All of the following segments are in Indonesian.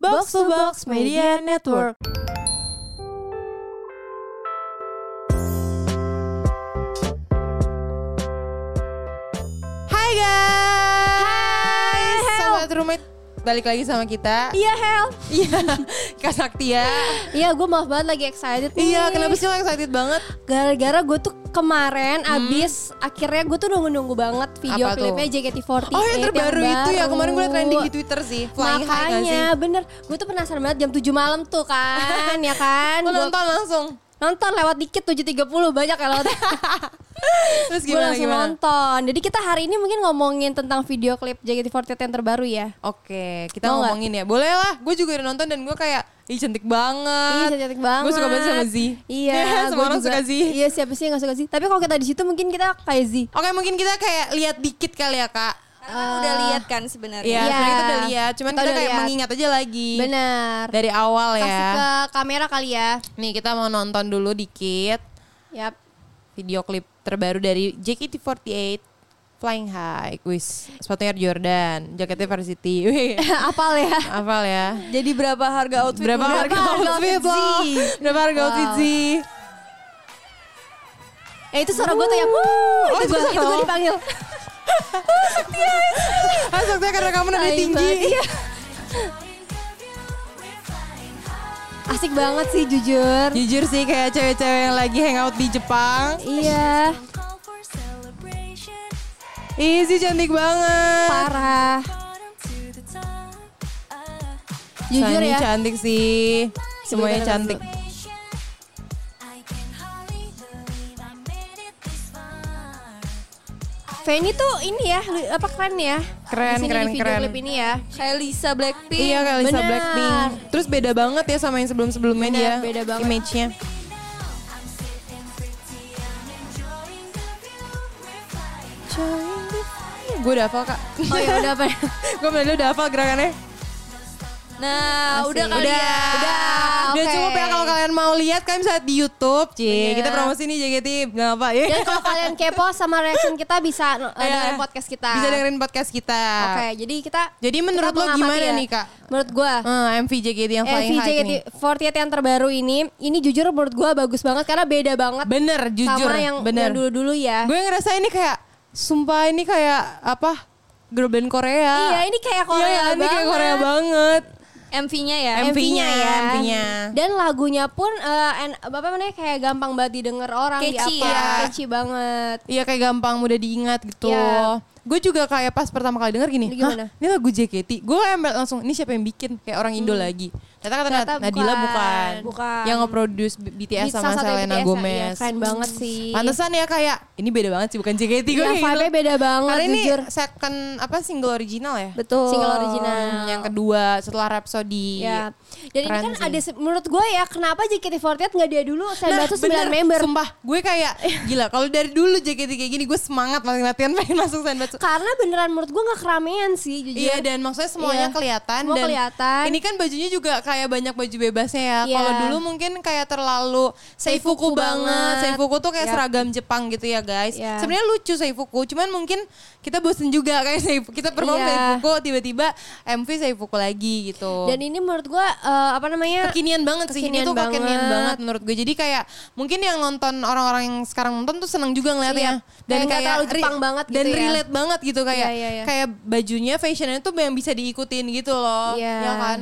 Box to Box Media Network. Hai guys, Hai, Hel. sobat rumit balik lagi sama kita. Iya Hel. Iya, Kak Saktia. Iya gue maaf banget lagi excited nih. Iya, kenapa sih lo excited banget? Gara-gara gue tuh kemarin abis akhirnya gue tuh nunggu-nunggu banget video Apa tuh? klipnya JKT48 Oh yang terbaru itu ya baru. kemarin gue liat trending di Twitter sih. Flying high gak sih? Makanya bener Gue tuh penasaran banget jam 7 malam tuh kan Ya kan Lo Gua- nonton langsung. Nonton lewat dikit 7.30 banyak ya lewat Terus Gue gimana langsung gimana? nonton Jadi kita hari ini mungkin ngomongin tentang video klip JKT48 yang terbaru ya Oke, kita Mau nggak? ngomongin ya. Boleh lah, gue juga udah nonton dan gue kayak, ih cantik banget. Iya cantik banget. Gue Eh, suka banget sama Z. Iya. semua gua orang juga. suka Z. Iya siapa sih yang gak suka Z? Tapi kalau kita di situ mungkin kita kayak Z. Oke, mungkin kita kayak lihat dikit kali ya kak. Karena kan udah lihat kan sebenarnya. Iya, Eh, Iya. sebenarnya kita udah lihat. Cuman Kita kita, udah kayak lihat. mengingat aja lagi. Benar. Dari awal ya. Kasih ke kamera kali ya. Nih kita mau nonton dulu dikit Yap. video klip terbaru dari JKT48 Flying High. Wis, sepatunya Air Jordan, jaketnya Varsity. Wih, Apal ya. hafal ya. Jadi berapa harga outfit? Berapa Berapa harga harga outfit outfit lo? Z? Berapa harga Wow. outfit Z? Eh itu suara gue tuh yang wuh. Oh, Itu itu gue suara itu gue lo. dipanggil. Ah, maksudnya karena kamu nada Tai tinggi. banget. Iya. Asik banget sih jujur. Jujur sih kayak cewek-cewek yang lagi hangout di Jepang. Iya. Ih, sih cantik banget. Parah. Jujur Sunny ya. cantik sih. Semuanya Sebentar, cantik. Fanny tuh ini ya, lu- apa keren ya? Keren, Di sini keren, di video keren. klip ini ya. Kayak Lisa Blackpink. Iya kayak Lisa Benar. Blackpink. Terus beda banget ya sama yang sebelum-sebelumnya Benar, dia beda banget. image-nya. Gue udah hafal kak Oh ya udah apa? Gue bener udah hafal gerakannya Nah, Asik. udah Udah kali ya. Udah Oke. cukup ya kalau kalian mau lihat Kalian bisa lihat di Youtube Cie. Benar. Kita promosi nih JKT Gak apa ya Dan kalau kalian kepo sama reaction kita bisa uh, Iya. dengerin podcast kita. Bisa dengerin podcast kita Oke, jadi kita Jadi menurut kita lo mengamati gimana ya. nih kak? Menurut gua Eh, MV JKT yang paling MV hype nih JKT48 yang terbaru ini, ini jujur menurut gua bagus banget karena beda banget Bener jujur sama yang Bener yang dulu-dulu ya. Gue ngerasa ini kayak Sumpah ini kayak Apa Girl band Korea Iya, ini kayak Korea Iya, ini kayak banget. Korea banget MV-nya ya. MV. MV-nya ya, MV-nya. Dan lagunya pun eh, en- apa namanya kayak gampang banget didengar orang Catchy di apa. ya. Catchy banget. Iya kayak gampang mudah diingat gitu Iya. Gue juga kayak pas pertama kali denger gini, Ini gimana? Hah, ini lagu JKT. Gue emang langsung, ini siapa yang bikin? Kayak orang Indo lagi. Ternyata kata Ternyata Nadila bukan. bukan. Hmm. Bukan. Yang nge-produce B- BTS Di sama salah satu Selena BTS, Iya, Gomez. keren banget sih. Pantesan ya kayak, ini beda banget sih bukan JKT gue gitu. Iya, vibe-nya beda banget Karena ini jujur. second apa single original ya? Betul. Single original. Hmm, yang kedua setelah Rhapsody. Ya. Dan Iya. ini Keren kan sih. ada se- menurut gue ya kenapa JKT48 nggak dia dulu saya batu 9 Nah, bener. member. Sumpah, gue kayak gila. Kalau dari dulu JKT kayak gini, gue semangat latihan pengen masuk Senbatsu. Karena beneran menurut gue nggak keramaian sih jujur. Iya dan maksudnya semuanya Iya. kelihatan Semua dan kelihatan. ini kan bajunya juga kayak banyak baju bebasnya ya. Iya. Kalau dulu mungkin kayak terlalu seifuku Seifuku banget. banget. Seifuku tuh kayak Yap. seragam Jepang gitu ya guys. Iya. Sebenarnya lucu seifuku, cuman mungkin kita bosen juga kayak seifuku. Kita pernah Iya. seifuku tiba-tiba MV seifuku lagi gitu. Dan ini menurut gue apa namanya? kekinian banget sih ini Kekinian tuh kekinian banget. banget menurut gue jadi kayak mungkin yang nonton orang-orang yang sekarang nonton tuh seneng juga ngeliatnya Iya. Kayak nggak terlalu Jepang banget dan gitu ya. relate banget gitu kayak Iya, iya, iya. kayak bajunya fashionnya tuh yang bisa diikutin gitu loh Iya. ya kan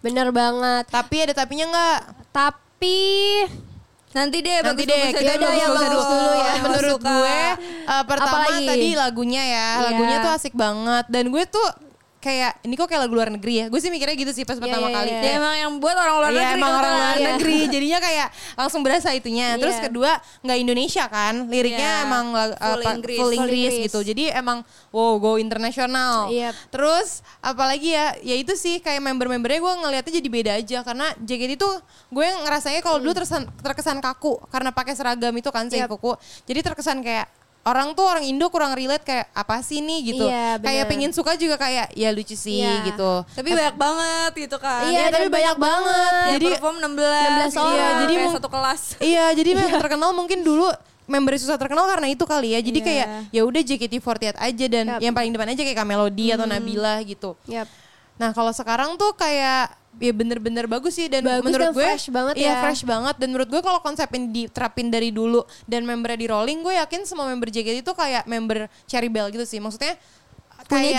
Bener banget. tapi ada tapinya nggak Tapi Nanti Iya, deh, Nanti bagus deh, bagus kita aja dulu, bahas yang bagus bagus dulu ya. yang menurut suka. gue eh, pertama Apalagi? tadi lagunya ya lagunya Iya. tuh asik banget dan gue tuh kayak ini kok kayak lagu luar negeri ya gue sih mikirnya gitu sih pas pertama iya, kali iya. Dia Kayak, emang yang buat orang luar Iya, negeri. kan? emang kalau orang nggak. luar Iya. negeri jadinya kayak langsung berasa itunya terus Iya. kedua nggak Indonesia kan liriknya Iya. emang lag- Full apa, Inggris. full Full Inggris Inggris. gitu jadi emang wow go internasional Yep. terus apalagi ya ya itu sih kayak member-membernya gue ngelihatnya jadi beda aja karena JKT itu gue ngerasanya kalau dulu terkesan, terkesan kaku karena pakai seragam itu kan Yep. seifuku jadi terkesan kayak Orang tuh orang Indo kurang relate kayak apa sih nih gitu. Iya, kayak bener. pengen suka juga kayak ya lucu sih Iya. gitu. Tapi banyak banget gitu kan. Iya, Yang tapi banyak banget. Jadi- perform 16. 16 orang. Iya, jadi Jadi mung- satu kelas. Iya, jadi memang terkenal mungkin dulu member susah terkenal karena itu kali ya. Jadi Iya. kayak ya udah JKT48 aja dan Yap. Hmm. yang paling depan aja kayak Kamelody atau Nabila gitu. Yap. Nah, kalau sekarang tuh kayak ya bener-bener bagus sih dan Bagus menurut dan gue fresh banget iya, ya. fresh banget dan menurut gue kalau konsep ini diterapin dari dulu dan membernya di rolling gue yakin semua member JKT itu kayak member Cherry Bell gitu sih maksudnya punya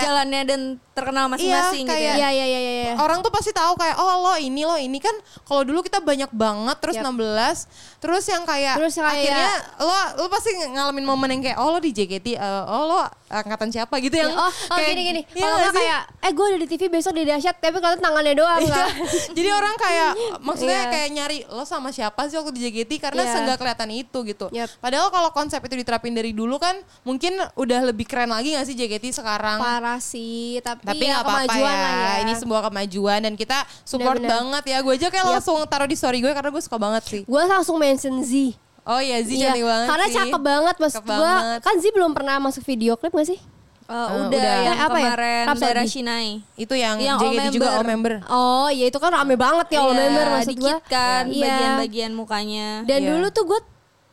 kayak- jalannya dan terkenal masing-masing Iya, gitu kayak- ya. Iya, iya, iya, iya. iya. orang tuh pasti tahu kayak oh lo ini lo ini kan kalau dulu kita banyak banget terus Yap. 16 terus yang kayak Terus kayak- akhirnya lo lo pasti ngalamin momen yang kayak oh lo di JKT eh, oh lo angkatan siapa gitu yang oh, oh kayak- gini gini. Iya Kalau nggak nggak sih? kayak eh gue udah di TV besok di dahsyat tapi kalau tangannya doang Iya. kan. enggak. Jadi orang kayak maksudnya Iya. kayak nyari lo sama siapa sih waktu di JKT karena Iya. seenggak kelihatan itu gitu. Yap. Padahal kalau konsep itu diterapin dari dulu kan mungkin udah lebih keren lagi gak sih JKT sekarang? Parah sih, tapi, tapi ya nggak apa-apa ya. kemajuan lah ya. ini sebuah kemajuan dan kita support Benar-benar. Iya. banget ya gue aja kayak Yap. langsung taruh di story gue karena gue suka banget sih Gue langsung mention Z. oh iya Zi Iya, cantik banget Karena sih. cakep banget maksud Cakep gue. banget. Kan Zi belum pernah masuk video klip gak sih? Eh, udah, udah. yang Eh, apa ya? kemarin Rhapsody. daerah Shinai. itu yang, Yang all JKT juga member. all member Oh iya itu kan rame banget ya all Iya, member maksud gue. dikit kan Iya. bagian-bagian mukanya. Dan Iya. dulu tuh gue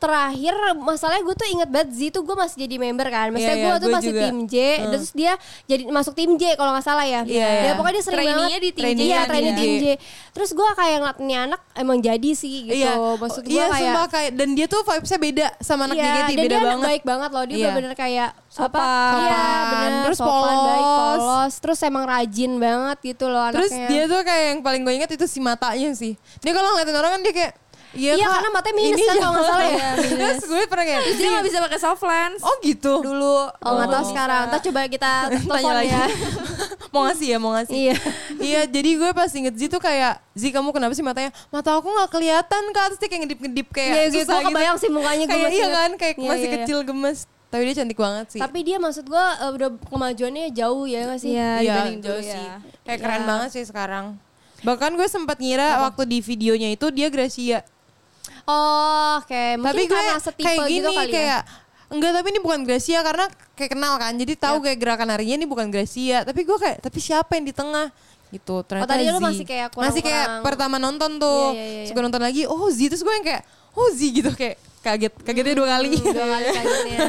terakhir masalahnya gue tuh inget banget Z tuh gue masih jadi member kan. Maksudnya Iya, gue iya, tuh gue masih juga. tim J, terus dia jadi masuk tim J kalau nggak salah Iya, ya. Ya iya. pokoknya dia sering Trainee-nya banget. di tim J Iya, kan trainee dia. tim J. Terus gue kayak ngeliat nih anak emang jadi sih gitu. Maksud gue iya, kayak sumpah kayak dan dia tuh vibesnya beda sama anak Iya, JKT dan beda dia anak banget baik banget loh. Dia Iya. bener-bener kayak apa? Sopan. Iya, Sopan. bener. Terus sopan, baik, polos. polos. Terus emang rajin banget gitu loh anaknya. terus dia tuh kayak yang paling gue ingat itu si matanya sih dia kalau ngeliatin orang kan dia kayak Iya, Kak, karena matanya minus ini kan kalau nggak salah ya. jangan." terus gue pernah kayak Terus dia nggak bisa pakai soft lens. oh gitu Dulu. Oh, nggak tahu sekarang. Ntar coba kita telepon lagi. ya. mau ngasih ya mau ngasih Iya. iya jadi gue pas inget Zi tuh kayak Zi kamu kenapa sih matanya mata aku nggak kelihatan kak terus dia kayak ngedip ngedip kayak Iya, gue- susah gue kebayang sih mukanya, gue kayak masih iya inget. kan kayak Iya, masih iya, iya. kecil gemes tapi dia cantik banget sih Tapi dia maksud gue eh, udah kemajuannya jauh ya nggak sih? Iya, iya dibanding dulu jauh ya. sih kayak Iya. keren banget sih sekarang bahkan gue sempat ngira waktu di videonya itu dia Gracia Oh, oke. Mungkin tapi gue karena setipe kayak gini gitu kali ya. kayak enggak tapi ini bukan Gracia karena kayak kenal kan jadi tahu Iya. kayak gerakan harinya ini bukan Gracia tapi gue kayak tapi siapa yang di tengah gitu ternyata tadi Oh, lu Zee. masih kayak kurang- masih kayak kurang- pertama nonton tuh Iya, iya, iya, Terus gue nonton lagi oh Z terus gue yang kayak oh Z gitu kayak kaget kagetnya dua kali Dua kali kagetnya.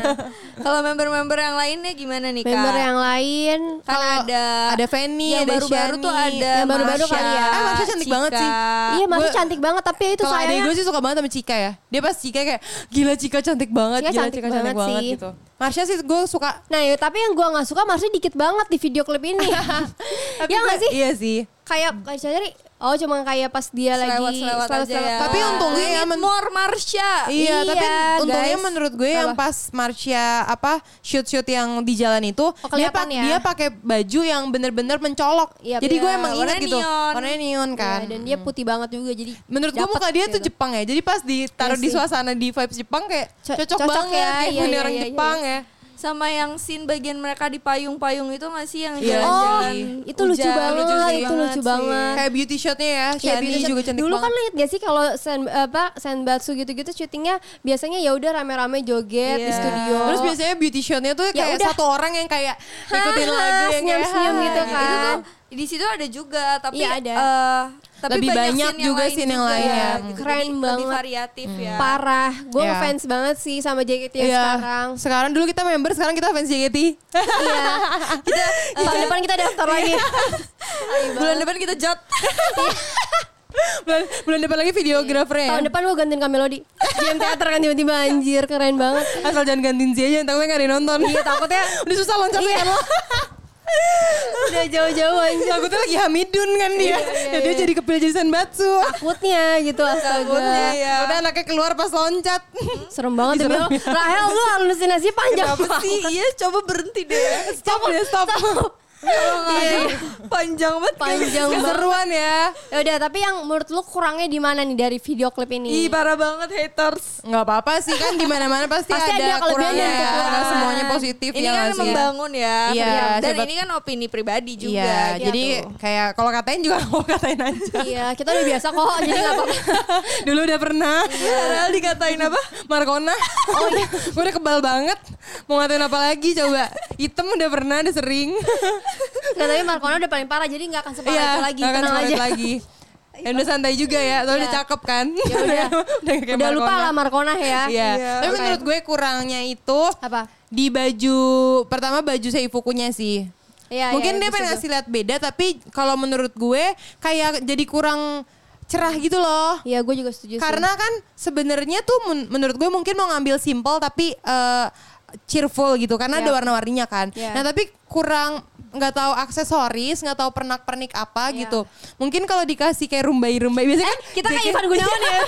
Kalau member-member yang lainnya gimana nih kak? Member yang lain kan ada ada Fanny yang ada baru-baru Shani. tuh ada Yang baru-baru Marsha, kali ya. Eh, Marsha cantik Cika. banget sih. Iya masih Gue- cantik banget tapi ya itu kalau adik sayangnya gue sih suka banget sama Cika ya dia pas Cika kayak gila Cika cantik banget Cika gila cantik Cika cantik banget banget, sih. gitu Marsha sih gue suka Nah ya, tapi yang gue nggak suka Marsha dikit banget di video klip ini Tapi Ya nggak gue- sih? iya sih Kayak kayak cari Oh cuma kayak pas dia lagi Selewat-selewat aja ya. Tapi untungnya We ya need men- more Marsha. Iya, tapi Iya, untungnya guys. menurut gue yang Apa? pas Marsha apa shoot-shoot yang di jalan itu dia, pak- kelihatan ya. dia pakai baju yang bener-bener mencolok. Iya, Jadi gue iya. emang ingat Warnanya gitu. neon. Warnanya neon kan. Ya, dan dia putih banget juga jadi menurut gue dapet muka dia tuh gitu. Jepang ya. Jadi pas ditaruh Iya di sih. suasana di vibes Jepang kayak Co- cocok, cocok banget ya, kayak iya, gini iya, orang iya, iya. Jepang ya. sama yang scene bagian mereka di payung-payung itu masih yang Iya, Oh, jalan-jalan itu lucu hujan. banget, lucu sih itu lucu banget sih. banget. Kayak beauty shotnya ya. Iya, Shani beauty shot. juga cantik Dulu banget. kan lihat gak sih kalau sen, apa senbatsu gitu-gitu syutingnya biasanya ya udah rame-rame joget di Iya. studio. Terus biasanya beauty shotnya tuh Ya kayak udah. satu orang yang kayak ngikutin lagu Ha, ha, yang kayak senyum-senyum ha, gitu ha, kan. itu tuh di situ ada juga tapi Iya, ada. eh, tapi Lebih banyak scene yang juga lain scene yang juga lain ya. gitu. Keren Jadi banget. lebih variatif Hmm. ya parah. Gue Iya. ngefans banget sih sama JKT yang Iya. sekarang. Sekarang dulu kita member, sekarang kita fans JKT. Iya. kita Eh, tahun depan kita daftar lagi. Iya. bulan depan kita jot bulan, bulan depan lagi videografernya ya. tahun depan gue gantiin Kamelody. Game teater kan tiba-tiba anjir keren banget. Asal jangan gantiin Zia aja, takutnya gak ada yang nonton. Iya takutnya. Udah susah loncatnya kan lo. Iya. Udah jauh-jauh anjir. takutnya lagi Hamidun kan dia. ya dia jadi kepil jadi Senbatsu. Takutnya gitu Iya, Takutnya astaga. ya. Udah anaknya keluar pas loncat. Serem banget demi Allah. Rahel lu halusinasi panjang. apa sih iya coba berhenti deh stop ya stop. Kalau nggak ada, Iya. panjang banget Panjang banget. Keseruan ya. Ya udah, tapi yang menurut lu kurangnya di mana nih dari video klip ih Iya. ini? parah banget haters Iya. Gak apa-apa sih kan di mana mana pasti, Pasti ada Iya, ada, kelebihan kurangnya. dan kekurangan. Gak semuanya positif ya ini kan nggak sih? membangun ya Iya, dan siapa- ini kan opini pribadi juga Iya, gitu. jadi kayak kalau katain juga mau katain aja. Iya, kita udah biasa kok, jadi nggak apa-apa. Dulu udah pernah. Iya. Padahal dikatain apa? Markona. Oh iya. gue udah kebal banget. Mau ngatain apa lagi coba? Hitam udah pernah, udah sering. Nah, tapi Markona udah paling parah, jadi nggak akan separah itu lagi. Iya, nggak akan Tenang separah aja. itu lagi. Dan udah santai juga ya, soalnya udah cakep kan. Ya udah. udah kayak udah lupa Markona. lah Markona ya. Iya. Iya. Tapi menurut gue kurangnya itu Apa? di baju pertama baju seifukunya sih. Iya, Mungkin iya, dia pengen setuju. ngasih lihat beda tapi kalau menurut gue kayak jadi kurang cerah gitu loh. Iya, gue juga setuju. sih. Karena kan sebenarnya tuh men- menurut gue mungkin mau ngambil simple tapi eh, cheerful gitu karena ada Yap. warna-warninya kan. Yeah. Nah tapi kurang nggak tahu aksesoris, nggak tahu pernak-pernik apa Yeah. gitu. Mungkin kalau dikasih kayak rumbai-rumbai biasanya kan Iya. Eh, kita kayak bikin- Ivan Gunawan ya.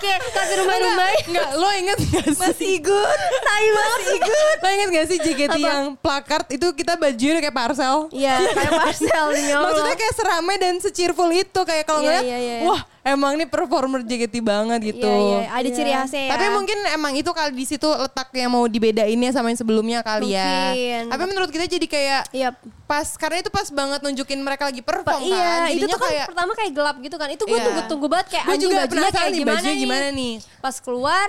kayak kasih rumah-rumah. Enggak, lo inget gak sih? Masih good, tai Masih good. Lo inget gak sih JKT Apa? yang plakat itu kita bajunya udah kayak parcel? Iya, kayak parcel ya Allah. Maksudnya kayak seramai dan secirful itu kayak kalau Iya, ngeliat, iya, iya. wah emang nih performer JKT banget gitu. Iya, iya, ada ciri khasnya ya. Tapi mungkin emang itu kali di situ letaknya mau dibedainnya sama yang sebelumnya kali ya. Mungkin. Tapi menurut kita jadi kayak Yap. pas karena itu pas banget nunjukin mereka lagi perform Pa- kan. iya, itu Jadinya tuh kan kayak pertama kayak gelap gitu kan. Itu gue Iya. tunggu-tunggu banget kayak Gua anjing juga bajunya penasaran kayak nih, gimana, bajunya nih. gimana nih? Pas keluar,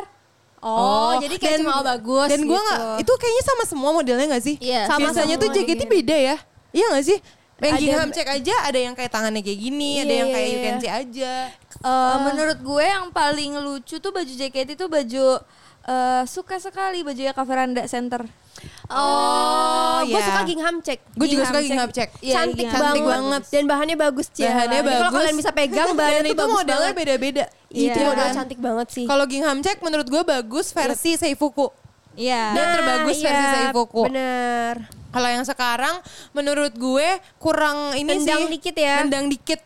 oh, jadi kayak dan- cuma oh, bagus Dan gue gitu. nggak, itu kayaknya sama semua modelnya nggak sih? Iya, Sama sama Biasanya tuh semua, JKT iya. beda ya? Iya nggak sih? Yang Ada- gingham cek aja ada yang kayak tangannya kayak gini, ada Iya, yang kayak iya, you can iya. see aja. Eh, Ah. menurut gue yang paling lucu tuh baju JKT itu baju eh, suka sekali bajunya Kaveranda Center. Oh, gue iya. suka gingham cek. Gue juga Gingham suka check. gingham cek. Iya, cantik, iya. banget. Cantik banget. dan bahannya bagus Cia. Bahannya Jadi Kalau bagus. kalian bisa pegang bahannya Dan tuh itu bagus modelnya banget. beda-beda. Itu Iya. model kan? cantik banget sih. Kalau gingham cek menurut gue bagus versi Seifuku. Iya. Dan terbagus versi iya, Seifuku. Bener. Kalau yang sekarang menurut gue kurang ini Nendang sih. dikit ya. Nendang dikit.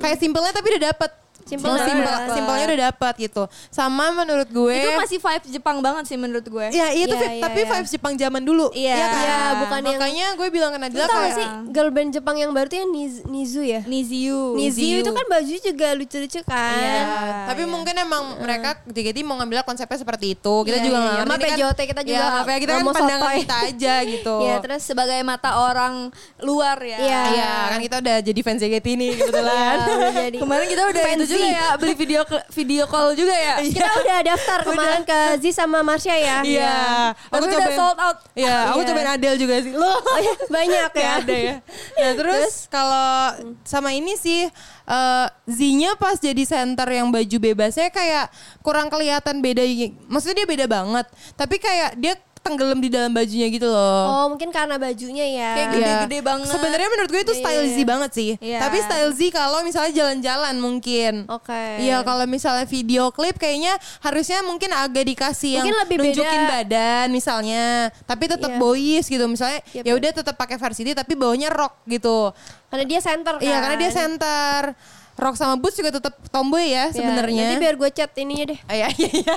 Kayak simpelnya tapi udah dapat. Simple Simple, udah simple, dapet. simpelnya udah dapat gitu. Sama menurut gue. Itu masih vibe Jepang banget sih menurut gue. Ya iya tuh Iya, Vi- iya, tapi iya. vibes Jepang zaman dulu. Iya. kan? Iya, bukan yang- Makanya gue bilang ke Lu Nadila kayak tau gak sih girl band Jepang yang baru tuh yang Niz- Nizu ya? Niziu. Nizu itu kan bajunya juga lucu-lucu kan. Iya, tapi mungkin emang mereka JKT mau ngambil konsepnya seperti itu. Kita Iya, juga iya. nggak ngerti, Sama ini kan- PJOT kita juga Iya, apa ya, kita nggak kan mau pandangan sotoy. kita aja gitu. Iya, Iya, Terus sebagai mata orang luar ya. Iya. kan kita udah jadi fans JKT nih kebetulan. Iya, jadi. Kemarin kita udah itu Fancy. Iya. juga ya beli video video call juga ya. Kita udah daftar kemarin ke Zi sama Marsha ya. Iya, Tapi udah sold out. Iya, aku Iya. cobain Adele juga sih. Loh, Oh, iya, banyak ya. Kayak ada ya. Nah terus, Hmm. kalau sama ini sih eh, Z-nya pas jadi center yang baju bebasnya kayak kurang kelihatan beda. Maksudnya dia beda banget. Tapi kayak dia tenggelam di dalam bajunya gitu loh. Oh, mungkin karena bajunya ya. Kayak Iya. gede-gede banget. Sebenarnya menurut gue itu Iya, style iya, Z iya. banget sih. Iya. Tapi style Z kalau misalnya jalan-jalan mungkin. Oke. Iya kalau misalnya video klip kayaknya harusnya mungkin agak dikasih yang Mungkin lebih beda. nunjukin badan misalnya, tapi tetap Iya. boyish gitu misalnya. Yep, ya udah tetap pakai varsity tapi bawahnya rock gitu. Karena dia center kan. Iya karena dia center. Rock sama boots juga tetap tomboy ya Iya, Nanti sebenarnya. biar gue chat ininya deh. Ah, Iya iya iya.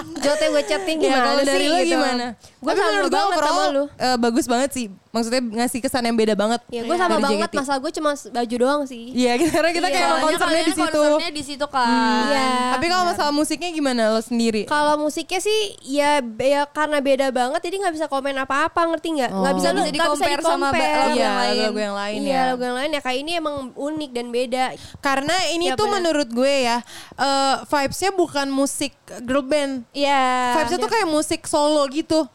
Jotnya gue Iya, chatin gimana kalau sih dari lo gitu. gimana? Gue Tapi sama menurut gue banget sama overall, lu. eh, bagus banget sih. Maksudnya ngasih kesan yang beda banget. Ya gue sama Iya, dari banget JKT. masalah gue cuma baju doang sih. Iya, karena kita Iya, kayak emang Soalnya concernnya kalian di situ. concernnya di situ kan. Iya, Tapi kalau masalah musiknya gimana lo sendiri? Kalau musiknya sih ya ya karena beda banget jadi nggak bisa komen apa-apa ngerti nggak? Oh, Nggak bisa lu Nggak bisa nggak bisa di-compare sama di-compare. lagu yang Iya, lain. lagu yang lain Iya ya. lagu yang lain ya kayak ini emang unik dan beda. Karena ini Iya, tuh benar. menurut gue ya, eh vibes-nya bukan musik girl band. Iya. Vibes-nya tuh kayak musik solo gitu.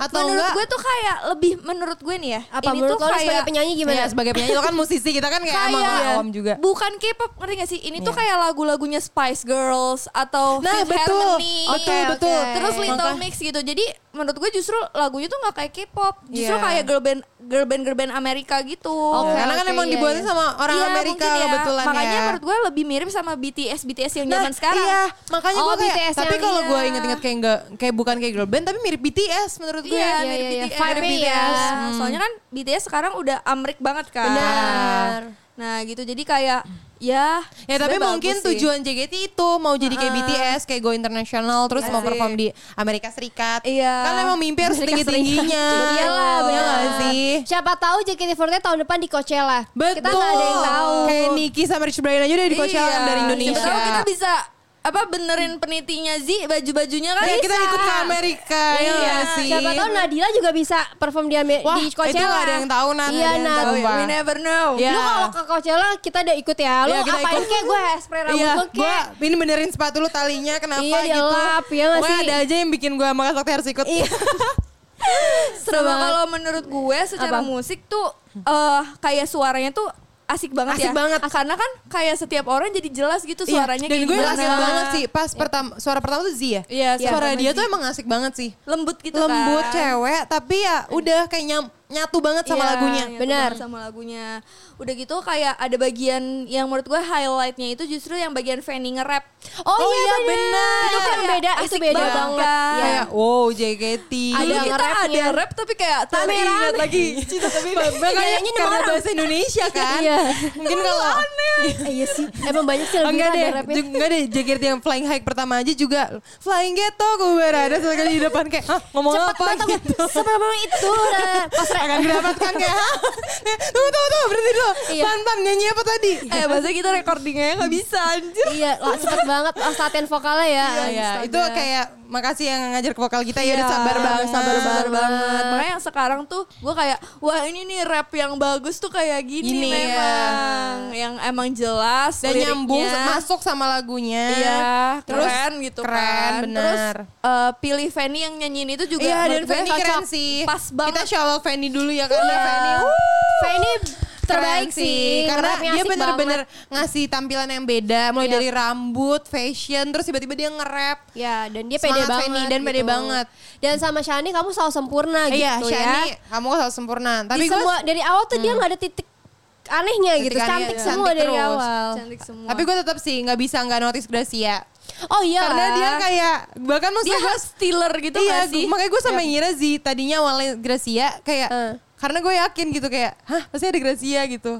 Atau menurut enggak? gue tuh kayak lebih menurut gue nih ya. Apa ini menurut tuh lo kayak sebagai penyanyi gimana? Iya, sebagai penyanyi lo kan musisi, kita kan kayak emang Kayak- awam juga. Bukan K-pop ngerti gak sih? Ini tuh kayak lagu-lagunya Spice Girls atau Nah, Fifth betul. Harmony. Betul, Oke, betul. oke. Terus Little Maka- Mix gitu. Jadi menurut gue justru lagunya tuh gak kayak K-pop, justru Iya. kayak girl band girl band girl band Amerika gitu. Oke, karena kan oke, emang iya, dibuatnya iya. sama orang Iya, Amerika mungkin ya. kebetulan Makanya ya. menurut gue lebih mirip sama BTS BTS yang Nah, zaman sekarang. Iya, makanya Oh, gue kayak BTS tapi yang kalau gue iya. inget-inget kayak enggak kayak bukan kayak girl band tapi mirip BTS menurut gue. Iya, Iya, mirip iya, iya. BTS. Vibe-nya Mirip ya. BTS. Hmm. Soalnya kan BTS sekarang udah amrik banget kan. Benar. Nah gitu jadi kayak ya. Ya tapi sebenarnya mungkin bagus sih. tujuan JKT itu mau jadi kayak BTS, kayak go international, terus mau Asik. perform di Amerika Serikat. Iya. Kan emang mimpi harus tinggi Amerika tingginya. Serikat. Iyalah, Iya benar. nggak sih. Siapa tahu JKT48 tahun depan di Coachella. Betul. Kita nggak ada yang tahu. Kayak Nicki sama Rich Brian aja udah di Coachella Iya. dari Indonesia. Siapa tahu kita bisa apa benerin penitinya Zi baju-bajunya kan Iya, bisa. kita ikut ke Amerika. Iya Iya. nggak sih. Siapa tahu Nadila juga bisa perform di, Amer- Wah, itu di Coachella. nggak ada yang tahu, Nan. Iya, Nggak ada yang Nad. tahu, Pak. We never know. Iya. Lu kalau ke Coachella kita udah ikut ya. Lu Iya, kita apain ikut. kayak gue hairspray rambut Iya, lu gue kayak. ini benerin sepatu lu talinya kenapa Iya, gitu. dielap, iya nggak Pokoknya sih? ada aja yang bikin gue sama Kak Sakti harus ikut. Iya. Seru kalau menurut gue secara Apa? musik tuh eh kayak suaranya tuh asik banget Asik ya. banget. Karena kan kayak setiap orang jadi jelas gitu Iya, suaranya Dan kayak gue gimana. asik banget sih pas pertama suara pertama tuh Z ya. Iya, suara suara pertama dia Z. tuh emang asik banget sih. Lembut gitu kan. lembut cewek tapi ya udah kayak nyam nyatu banget sama Iya, lagunya. nyatu Benar. banget sama lagunya. Udah gitu kayak ada bagian yang menurut gue highlightnya itu justru yang bagian Fanny nge-rap. Oh, iya, iya benar. benar. Itu kan Kayak beda, itu asik beda banget, banget. kan? Iya. Kayak wow JKT. Ada Dulu kita nge-rapnya. ada rap tapi kayak tak Rame-rame. ingat lagi. Cinta tapi Makanya Nyanyinya karena orang. bahasa Indonesia kan. Iya. Mungkin kalau Eh, iya sih. Emang banyak sih lebih enggak ada deh, rapnya. ju- enggak deh JKT yang flying high pertama aja juga flying ghetto gue berada sekali di depan kayak Hah, ngomong Cepet apa banget gitu. sebelum itu nah, pas rap akan didapatkan kayak "Hah?" tunggu tunggu tunggu berhenti dulu Iya. pan pan nyanyi apa tadi eh bahasa kita recordingnya nggak bisa anjir. iya lah, cepet banget lah latihan vokalnya ya Ah, ya, Astaga. itu kayak makasih yang ngajar ke vokal kita ya, Iya, udah sabar banget sabar Sabar banget. banget. Makanya yang sekarang tuh gue kayak wah ini nih rap yang bagus tuh kayak gini Gini, ya. memang yang emang jelas dan liriknya. nyambung masuk sama lagunya Iya, Terus keren gitu keren, kan. Terus benar. eh, pilih Fanny yang nyanyiin itu juga iya dan menurut gue Fanny keren cocok. sih Pas kita banget. shout out Fanny dulu ya karena Iya. Fanny wuh, Fanny terbaik keren sih karena Rapnya dia asik bener-bener banget. ngasih tampilan yang beda mulai Iya. dari rambut fashion terus tiba-tiba dia nge-rap ya dan dia pede Semangat banget Fanny, dan pede banget. dan sama Shani kamu selalu sempurna iya gitu Shani ya kamu selalu sempurna tapi Di gue semua dari awal tuh dia nggak ada titik anehnya Titik gitu aneh, cantik iya. semua Cantik dari terus. awal Cantik semua. tapi gue tetap sih nggak bisa nggak notice Gracia oh iya karena lah. dia kayak bahkan dia maksudnya gue harus stealer gitu iya, nggak sih? gua- makanya gue sama ngira sih tadinya awalnya Gracia kayak Eh. karena gue yakin gitu kayak hah pasti ada Gracia gitu.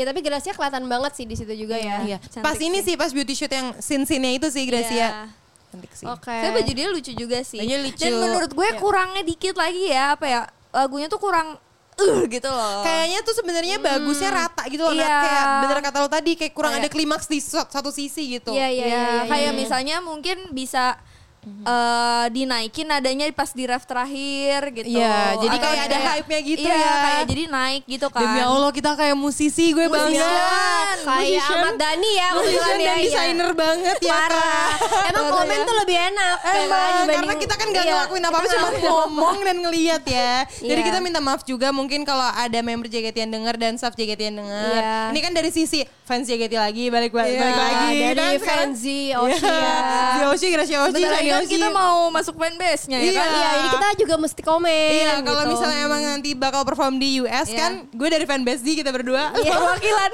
ya tapi Gracia kelihatan banget sih di situ juga ya Iya. cantik Pas ini sih pas beauty shoot yang scene-scene itu sih Gracia. Iya. Cantik sih. oke Tapi baju dia lucu juga sih. Bajunya lucu. Iya. Dan menurut gue kurangnya dikit lagi ya apa ya lagunya tuh kurang eh gitu loh. Kayaknya tuh sebenarnya bagusnya rata gitu loh. Nat. Iya. Kayak bener kata lo tadi kayak kurang Kayak- ada klimaks di so- satu sisi gitu. Iya, iya, Ya, iya, iya, kayak iya. misalnya mungkin bisa Mhm. eh, dinaikin nadanya pas di ref terakhir gitu. Iya, jadi Atau kayak ada hype-nya gitu iya, ya. kayak jadi naik gitu kan. Iya, Demi Allah Iya. kita kayak musisi gue Musician. banget. kayak Iya, Ahmad Dhani ya Musician kebetulan ya, dan iya. desainer banget ya parah Kak. emang Parah komen ya. tuh lebih enak Emang, dibanding- Eh, karena kita kan gak iya, ngelakuin apa-apa kita cuma ngelakuin ngomong dan ngeliat ya. Jadi Iya. kita minta maaf juga mungkin kalau ada member JKT yang denger dan staff JKT yang denger. Iya. Ini kan dari sisi fans JKT lagi balik balik, Iya, balik lagi dari kan sekarang. Fenzi, Oshi Iya. ya. Si Oshi, Gracia Oshi, Bentar lagi Shani kan Oshi. kita mau masuk fanbase-nya ya ya, Iya. kan. Iya, jadi kita juga mesti komen. Iya, kalau gitu. misalnya emang nanti bakal perform di US Iya. kan, gue dari fanbase D kita berdua. Iya. Perwakilan.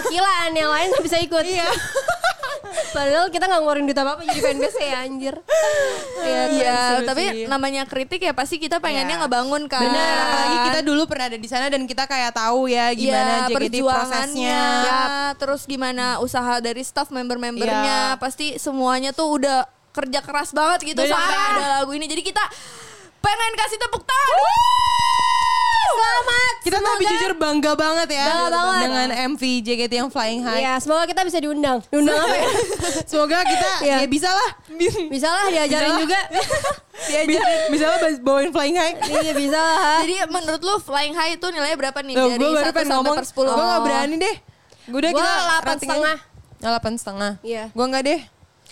perwakilan yang lain nggak bisa ikut. Iya. Padahal kita nggak ngeluarin duit apa apa jadi fanbase ya anjir. Iya, Iya, seru tapi sih. namanya kritik ya pasti kita pengennya Iya. ngebangun kan. Benar, apalagi kita dulu pernah ada di sana dan kita kayak tahu ya Iya, gimana JKT prosesnya. Ya, terus gimana usaha dari staff Iya. member-membernya. Pasti semuanya tuh udah kerja keras banget gitu Bener. sampai ada lagu ini. Jadi kita pengen kasih tepuk tangan. Selamat. Kita tapi Semoga- jujur bangga banget ya Bangga banget. dengan MV JKT yang Flying High. Iya, semoga kita bisa diundang. Diundang apa ya? Semoga kita Iya. ya bisa lah. Bisa lah diajarin Bisa. juga. Bisa, bisa lah bawain flying high. Iya, bisa lah. Jadi menurut lu Flying High itu nilainya berapa nih? Loh, dari gue baru pengen 1 sampai ngomong, per Oh, 10. gue gak berani deh. Gue udah Gua kita delapan rating aja. setengah. Oh, delapan setengah. Iya. Gue gak deh.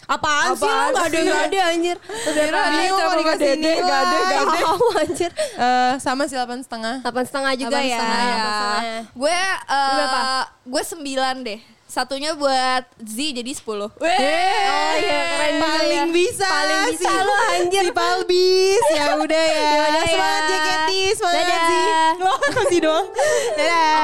Apaan, sih lo Apaan nggak ada sih? nggak ada anjir. Udah Kira ada bingung mau dikasih nilai. Gak ada nggak ada. Oh, anjir. Eh, sama sih delapan setengah. Delapan setengah juga Delapan ya. setengah, Ya. delapan setengah. Gue eh, berapa? gue 9 deh. Satunya buat Z jadi 10. Weh. Oh iya, keren juga Paling ya. bisa. Paling bisa si- lo anjir. Si Palbis. Ya udah ya. Yaudah ya. Semangat JKT. Semangat Dadah. sih. Lo masih doang. Dadah.